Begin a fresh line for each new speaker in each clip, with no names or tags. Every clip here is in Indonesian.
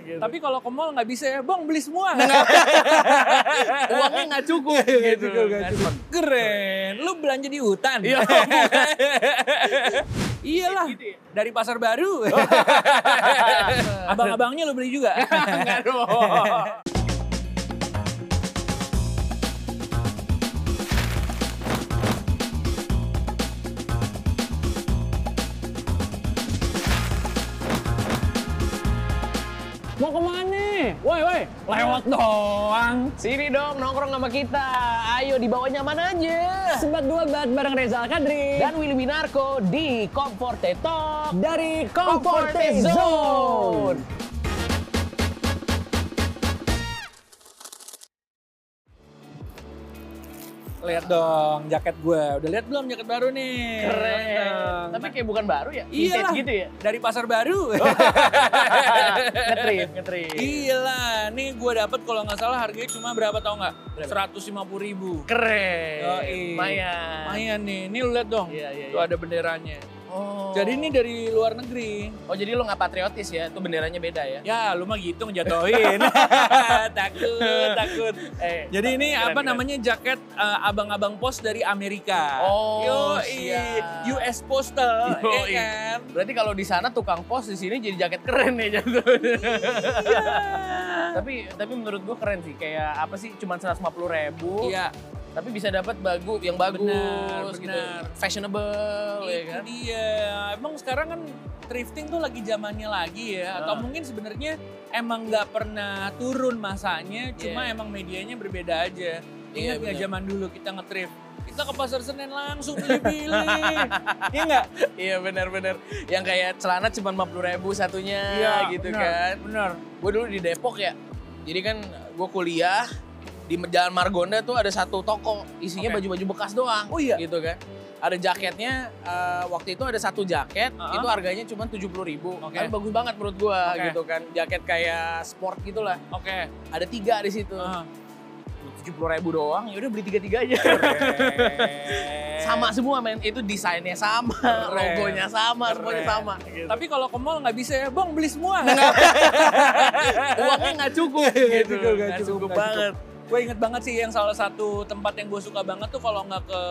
Gitu.
Tapi kalau ke mall nggak bisa ya, bang beli semua. Uangnya nggak cukup
Nggak
gitu.
cukup, nggak
kan.
cukup.
Keren, lu belanja di hutan.
Iya.
Iyalah, Gitu ya? dari pasar baru. Abang-abangnya lu beli juga.
Enggak dong.
Mau kemana? Woi, woi, lewat doang.
Nah, Sini dong nongkrong sama kita. Ayo dibawanya mana aja.
Sebat dua bat bareng Reza Kadri
Dan Willy Winarko di Comforte Talk.
dari
Comforte Zone.
Lihat dong jaket gue. Udah lihat belum jaket baru nih?
Keren. Tapi kayak bukan baru ya?
iya
Vintage gitu ya?
Dari pasar baru.
ngetrip, ngetrip.
Iya. Gila, nih gue dapet kalau nggak salah harganya cuma berapa tau nggak? Seratus lima puluh ribu.
Keren.
Yoi.
Lumayan.
Lumayan nih, nih lu lihat dong.
Iya, iya,
Tuh
iya.
ada benderanya.
Oh.
Jadi ini dari luar negeri.
Oh jadi lo nggak patriotis ya? Itu benderanya beda ya?
Ya, lu mah gitu ngejatuhin. takut, takut.
Eh,
Iya. Jadi ini
keren,
apa
keren.
namanya jaket eh, abang-abang pos dari Amerika.
Oh,
Yoi,
siap.
US Postal, ya
Yoi.
kan?
Berarti kalau di sana tukang pos di sini jadi jaket keren ya jatuhnya.
Iya.
tapi tapi menurut gua keren sih. Kayak apa sih? Cuman 150 ribu.
Iya,
Tapi bisa dapat bagu yang bagus,
Benar,
gitu.
benar.
fashionable, ya
itu
kan?
dia. Emang sekarang kan thrifting tuh lagi zamannya lagi ya. Atau
Ah.
mungkin sebenarnya emang nggak pernah turun masanya, cuma
Iya.
emang medianya berbeda aja.
Iya,
Ingat nggak
benar.
zaman dulu kita nge-thrift? Kita ke pasar Senen langsung pilih-pilih. Iya nggak?
Iya benar-benar. Yang kayak celana cuma 50 ribu satunya, gitu kan?
Bener.
gue dulu di Depok ya jadi kan gue kuliah di Jalan Margonda tuh ada satu toko isinya
Oke.
baju-baju bekas doang
Oh iya.
gitu kan ada jaketnya eh, waktu itu ada satu jaket
Uh-huh.
itu harganya cuma tujuh puluh ribu
Oke.
tapi bagus banget menurut gue
Oke.
gitu kan jaket kayak sport gitulah
Oke.
ada tiga di situ
Ah.
tujuh puluh ribu doang ya udah beli tiga tiga aja sama semua men itu desainnya sama
Keren.
logonya sama semuanya
Keren.
sama gitu.
Tapi kalau ke mall nggak bisa ya, bang beli semua.
uangnya nggak cukup
Nggak
gitu
cukup, nggak
nggak
cukup,
cukup
nggak
banget
gue inget banget sih yang salah satu tempat yang gue suka banget tuh kalau nggak ke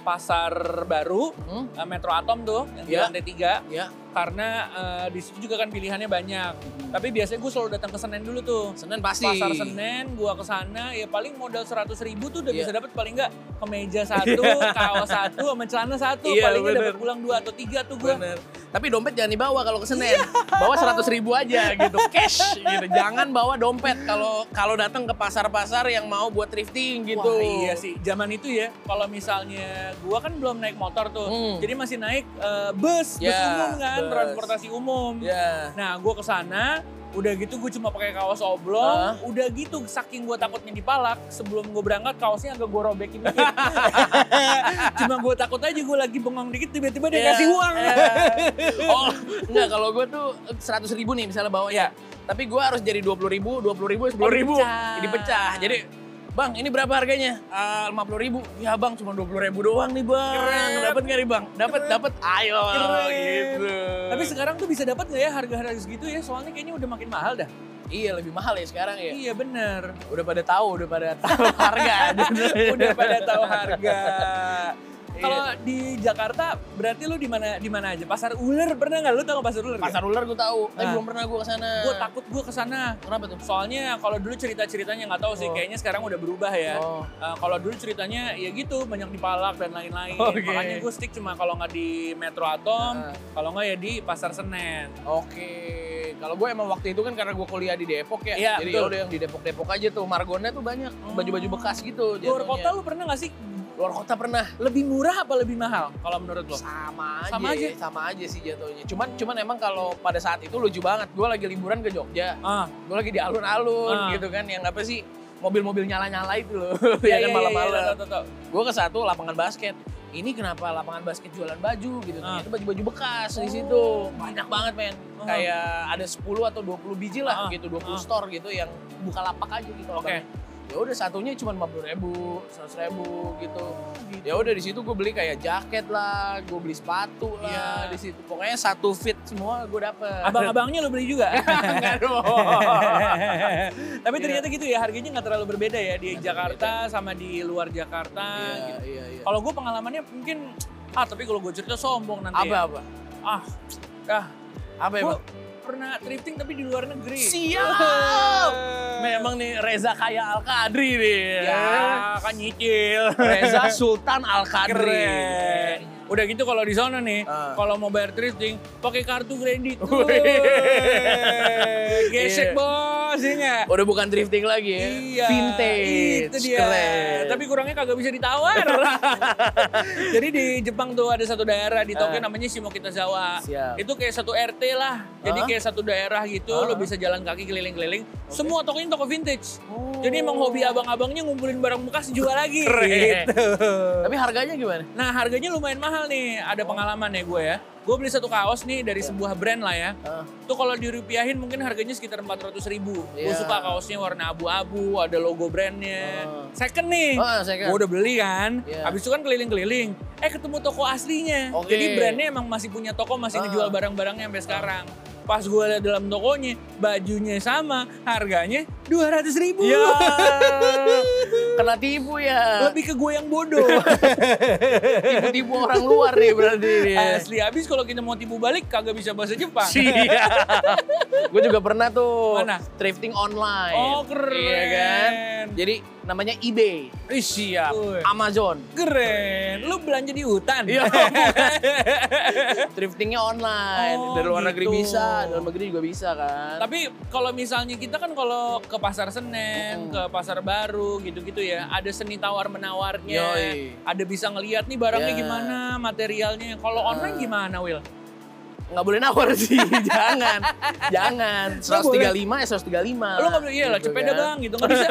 pasar baru,
Hmm?
eh, Metro Atom tuh, yang di
Iya.
lantai tiga.
ya
Karena eh, di situ juga kan pilihannya banyak. Tapi biasanya gue selalu datang ke Senen dulu tuh.
Senin Hmm. pasti
Pasar Senen, gua ke sana, ya paling modal seratus ribu tuh udah
Iya.
bisa dapat paling nggak kemeja satu, kaos satu, sama celana satu,
Iya,
paling nggak
bener.
dapat pulang dua atau tiga tuh gue.
Bener. Tapi dompet jangan dibawa kalau ke Senen. Bawa seratus ribu aja gitu, cash gitu. Jangan bawa dompet kalau kalau datang ke pasar-pasar yang mau buat thrifting gitu.
Wah, iya sih, zaman itu ya. Kalau misalnya gua kan belum naik motor tuh,
Hmm.
jadi masih naik eh, bus, bus
Ya,
umum kan,
bus.
transportasi umum.
Ya.
Nah, gua ke sana, udah gitu gue cuma pakai kaos oblong, udah gitu saking gue takutnya dipalak, sebelum gue berangkat kaosnya agak gue robekin dikit. cuma gue takut aja gue lagi bengong dikit, tiba-tiba dia
Ya,
kasih uang.
ya. Oh, enggak kalau gue tuh seratus ribu nih misalnya bawa ya. Tapi gue harus jadi dua puluh ribu, dua puluh ribu, sepuluh ribu.
Oh, dipecah.
Jadi pecah. Jadi Bang, ini berapa harganya? Lima puluh ribu. Ya bang, cuma dua puluh ribu doang nih bang.
Keren.
Dapat nggak nih bang? Dapat,
Keren.
dapat. Ayo.
Keren.
Gitu.
Tapi sekarang tuh bisa dapat nggak ya harga-harga segitu ya? Soalnya kayaknya udah makin mahal dah.
iya lebih mahal ya sekarang ya.
Iya bener.
udah pada tahu udah pada tahu harga
udah pada tahu harga. Kalau
kalau
di Jakarta berarti lu di mana di mana aja? Pasar Ular pernah nggak? Lu tahu pasar Ular?
pasar ular gue tahu tapi
Nah.
belum pernah gue kesana
Gue takut gue kesana.
kenapa tuh
Soalnya kalau dulu cerita-ceritanya nggak tahu sih.
Oh.
Kayaknya sekarang udah berubah ya.
oh
Eh, kalau dulu ceritanya ya gitu banyak dipalak dan lain-lain.
Oke.
Makanya gue stick cuma kalau nggak di Metro Atom,
Nah.
kalau nggak ya di Pasar Senen.
oke kalau gue emang waktu itu kan karena gue kuliah di Depok ya
Iya,
jadi
betul. Hmm.
udah yang di Depok Depok aja tuh margonnya tuh banyak baju-baju bekas gitu
Luar
jatuhnya.
kota lu pernah nggak sih?
luar kota pernah
Lebih murah apa lebih mahal kalau menurut lo?
sama aja,
Sama aja.
sama aja sih jatuhnya cuman cuman emang kalau pada saat itu lucu banget gue lagi liburan ke Jogja
Ah,
gue lagi di
Ah.
alun-alun gitu kan yang apa sih mobil-mobil nyala-nyala itu loh
iya,
ya kan
iya,
malam-malam
iya, tau, tau, tau.
gue ke satu lapangan basket ini kenapa lapangan basket jualan baju gitu
Ah.
ternyata baju-baju bekas
Oh.
di situ banyak banget men
Ah.
kayak ada 10 atau 20 biji
Ah.
lah gitu 20
Ah.
store gitu yang buka lapak aja gitu
Oke.
abangnya. ya udah satunya cuma lima puluh ribu seratus ribu gitu
Oh,
ya udah di situ gue beli kayak jaket lah gue beli sepatu lah
Iya.
di situ pokoknya satu fit semua gue dapet
Abang-abangnya lo beli juga.
Enggak dong.
Tapi ternyata gitu ya harganya nggak terlalu berbeda ya di
Iya. Nggak
Jakarta sama di luar Jakarta.
Iya,
gitu.
iya, iya.
Kalau gue pengalamannya mungkin ah tapi kalau gue cerita sombong nanti.
Apa
ya.
apa?
Ah, ah
Apa ya,
gue
Bang?
pernah thrifting tapi di luar negeri.
Siap! Memang nih Reza kaya Al Kadri nih.
ya kan nyicil.
Reza Sultan Al Kadri.
Keren. Udah gitu kalau di sana nih,
Ah.
kalau mau bayar thrifting pakai kartu kredit.
Wih.
Wih, Gesek
Iya.
bos, iya nggak? Iya,
Udah bukan drifting lagi ya. Vintage.
Itu dia.
Keren.
Tapi kurangnya kagak bisa ditawar. Jadi di Jepang tuh ada satu daerah di Tokyo
Ah.
namanya Shimokitazawa.
Siap.
Itu kayak satu RT lah. Jadi
Ah.
kayak satu daerah gitu,
Ah.
lo bisa jalan kaki keliling-keliling.
Oke.
Semua tokonya toko vintage.
Oh.
Jadi emang hobi abang-abangnya ngumpulin barang bekas dijual lagi.
Keren.
Gitu.
Tapi harganya gimana?
Nah harganya lumayan mahal nih. Ada pengalaman ya gue ya. Gue beli satu kaos nih dari sebuah brand lah ya.
Ah.
Itu kalau dirupiahin mungkin harganya sekitar 400 ribu. Gue
Iya.
suka kaosnya warna abu-abu, ada logo brandnya.
Oh.
Second nih.
Oh, saya kan.
Gue udah beli kan,
Iya.
habis itu kan keliling-keliling. Eh ketemu toko aslinya.
Oke.
Jadi brandnya emang masih punya toko, masih
Ah.
ngejual barang-barangnya sampai sekarang. Pas gue liat dalam tokonya, bajunya sama, harganya 200 ribu.
Ya. Kena tipu ya.
Lebih ke gue yang bodoh.
Tipu-tipu orang luar nih berarti. nih.
Asli, habis kalau kita mau tipu balik, kagak bisa bahasa Jepang.
gue Iya. juga pernah tuh
Mana?
thrifting online.
Oh keren.
Iya kan? Jadi namanya eBay,
Ih, siap.
Amazon.
Keren. Lu belanja di hutan.
Ah, Iya. Thriftingnya online,
Oh,
dari luar negeri
gitu.
bisa, dalam negeri juga bisa kan.
Tapi kalau misalnya kita kan kalau ke pasar Senen,
Mm-mm.
ke pasar baru gitu-gitu ya, ada seni tawar menawarnya.
Yoi.
Ada bisa ngelihat nih barangnya
Ya.
gimana, materialnya. Kalau
Ah.
online gimana, Will?
nggak boleh nawar sih, jangan, jangan. 135 ya 135.
Lu nggak boleh, iya lah,
Gitu
cepeda
kan.
bang, gitu nggak bisa.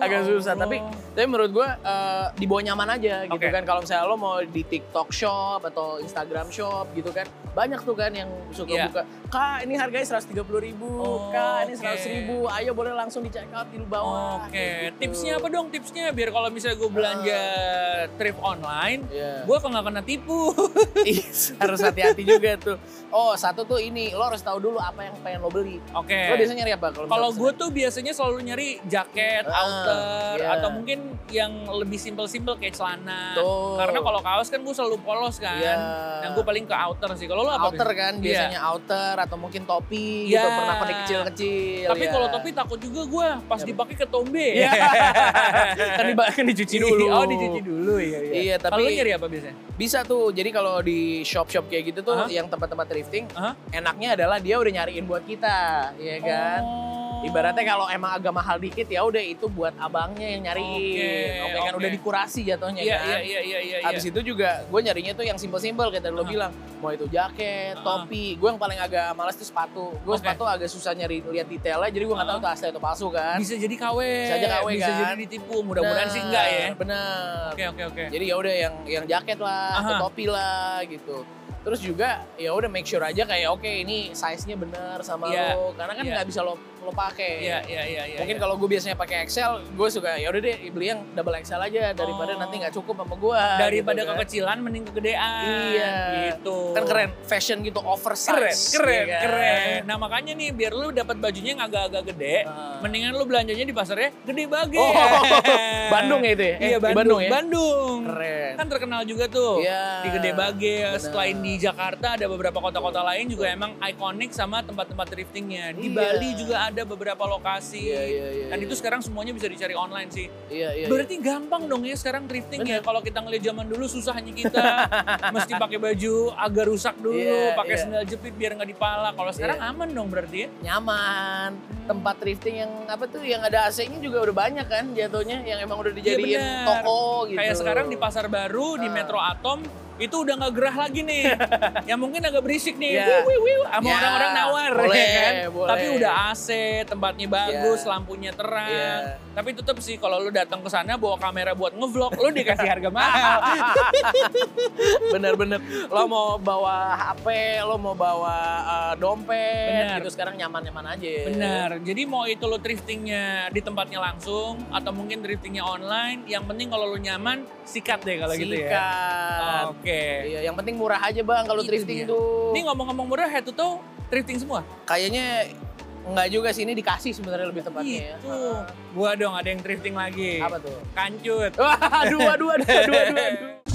Agak
Ya
susah,
Allah.
tapi tapi menurut gue eh, dibawa nyaman aja gitu
Oke.
kan. Kalau misalnya lo mau di TikTok shop atau Instagram shop gitu kan, banyak tuh kan yang suka
Iya.
buka, kak ini harganya 130 ribu,
Oh,
kak ini
oke.
100 ribu, ayo boleh langsung di check out di bawah.
Oke,
Gitu.
tipsnya apa dong? Tipsnya biar kalau misalnya gue belanja
Ah.
trip online,
Iya.
gue kok nggak kena tipu.
Ih, harus hati-hati juga tuh. Oh, satu tuh ini, lo harus tahu dulu apa yang pengen lo beli.
Oke.
Lo biasanya nyari apa?
Kalau
misalnya
gue tuh biasanya selalu nyari jaket,
Ah,
outer,
iya.
atau mungkin yang lebih simple-simple kayak celana.
Tuh.
Karena kalau kaos kan gue selalu polos kan.
Iya.
Nah gue paling ke outer sih. Kalau lo apa?
outer
Bis?
kan, biasanya outer atau mungkin topi
Iya.
gitu, pernak-pernik kecil-kecil.
Tapi
ya.
kalau topi takut juga gue pas
Iya.
dipakai ke tombe.
Iya. kan diba- kan dicuci dulu.
Oh dicuci dulu ya. Iya,
Iya, tapi-
Kalau lo nyari apa biasanya?
Bisa tuh. Jadi kalau di shop-shop kayak gitu tuh
Hah?
yang tempat-tempat thrifting,
Hah?
enaknya adalah dia udah nyariin buat kita, ya kan?
Oh.
Ibaratnya kan kalau emang agak mahal dikit ya udah itu buat abangnya yang nyariin.
Oke,
Oke, kan
oke.
udah dikurasi jatuhnya
Iya,
kan.
iya, iya, iya, iya.
Abis itu juga gue nyarinya tuh yang simple-simple kayak tadi
Ah.
lo bilang. Mau itu jaket,
Ah.
topi. Gue yang paling agak malas tuh sepatu.
Oke.
Gue sepatu agak susah nyari lihat detailnya jadi gue nggak tahu
Ah.
tuh asli atau palsu kan.
Bisa jadi KW.
Bisa aja KW,
Bisa
kan?
jadi ditipu. Mudah-mudahan sih
Bener,
enggak ya.
Bener.
Oke, oke, oke.
Jadi ya udah yang yang jaket lah, atau
Aha.
topi lah gitu. Terus juga ya udah make sure aja kayak oke ini size-nya bener sama
Iya.
lo karena kan
Iya.
nggak bisa lo lo pakai.
Iya, iya, iya, iya.
Mungkin
iya.
kalau gue biasanya pakai XL, gue suka ya udah deh beli yang double XL aja daripada
Oh.
nanti nggak cukup sama gue.
daripada
gitu kan.
kekecilan mending kegedean
Iya.
gitu
kan keren fashion gitu oversize.
keren keren
ya kan?
keren nah makanya nih biar lu dapat bajunya yang agak-agak gede
Ah.
mendingan lu belanjanya di pasarnya gede baget
Oh, Bandung ya itu ya? Eh,
iya
di
Bandung
Bandung ya?
Bandung
Keren.
kan terkenal juga tuh
Iya.
di Gede Bagel
Benar.
selain di Jakarta ada beberapa kota-kota lain juga emang ikonik sama tempat-tempat thriftingnya di
Iya.
Bali juga ada beberapa lokasi
Iya, iya, iya,
dan
iya.
Kan itu sekarang semuanya bisa dicari online sih
Iya iya. iya.
Berarti gampang dong ya sekarang thrifting ya. Kalau kita ngeliat zaman dulu susahnya kita mesti pakai baju agak rusak dulu,
Iya, Gitu.
pakai
iya.
sandal jepit biar nggak dipala. Kalau sekarang aman dong berarti ya.
nyaman tempat thrifting yang apa tuh yang ada AC-nya juga udah banyak kan jatuhnya yang emang udah dijadiin
Iya, benar.
toko gitu Ah.
Kayak sekarang di Pasar Baru, di Metro Atom itu udah nggak gerah lagi nih. yang mungkin agak berisik nih,
Iya.
wiu, wiu, wiu, sama
Iya,
orang-orang nawar.
boleh,
ya kan?
boleh.
Tapi udah AC, tempatnya bagus,
Iya.
lampunya terang.
Iya.
Tapi tetap sih kalau lu datang ke sana bawa kamera buat ngevlog, lu dikasih harga mahal.
Bener-bener. Lo mau bawa HP, lo mau bawa eh, dompet,
Bener.
gitu sekarang nyaman-nyaman aja.
Benar. Jadi mau itu lo thriftingnya di tempatnya langsung atau mungkin thriftingnya online, yang penting kalau lo nyaman sikat deh kalau gitu ya.
Sikat.
Oke.
Iya, yang penting murah aja bang kalau
Itu
thrifting
dia.
tuh.
Ini ngomong-ngomong murah head to toe thrifting semua.
Kayaknya nggak juga sih ini dikasih sebenarnya lebih tepatnya. ya.
Gitu. Gua dong ada yang thrifting lagi.
Apa tuh?
Kancut.
Wah, aduh, aduh, aduh, aduh, aduh, aduh.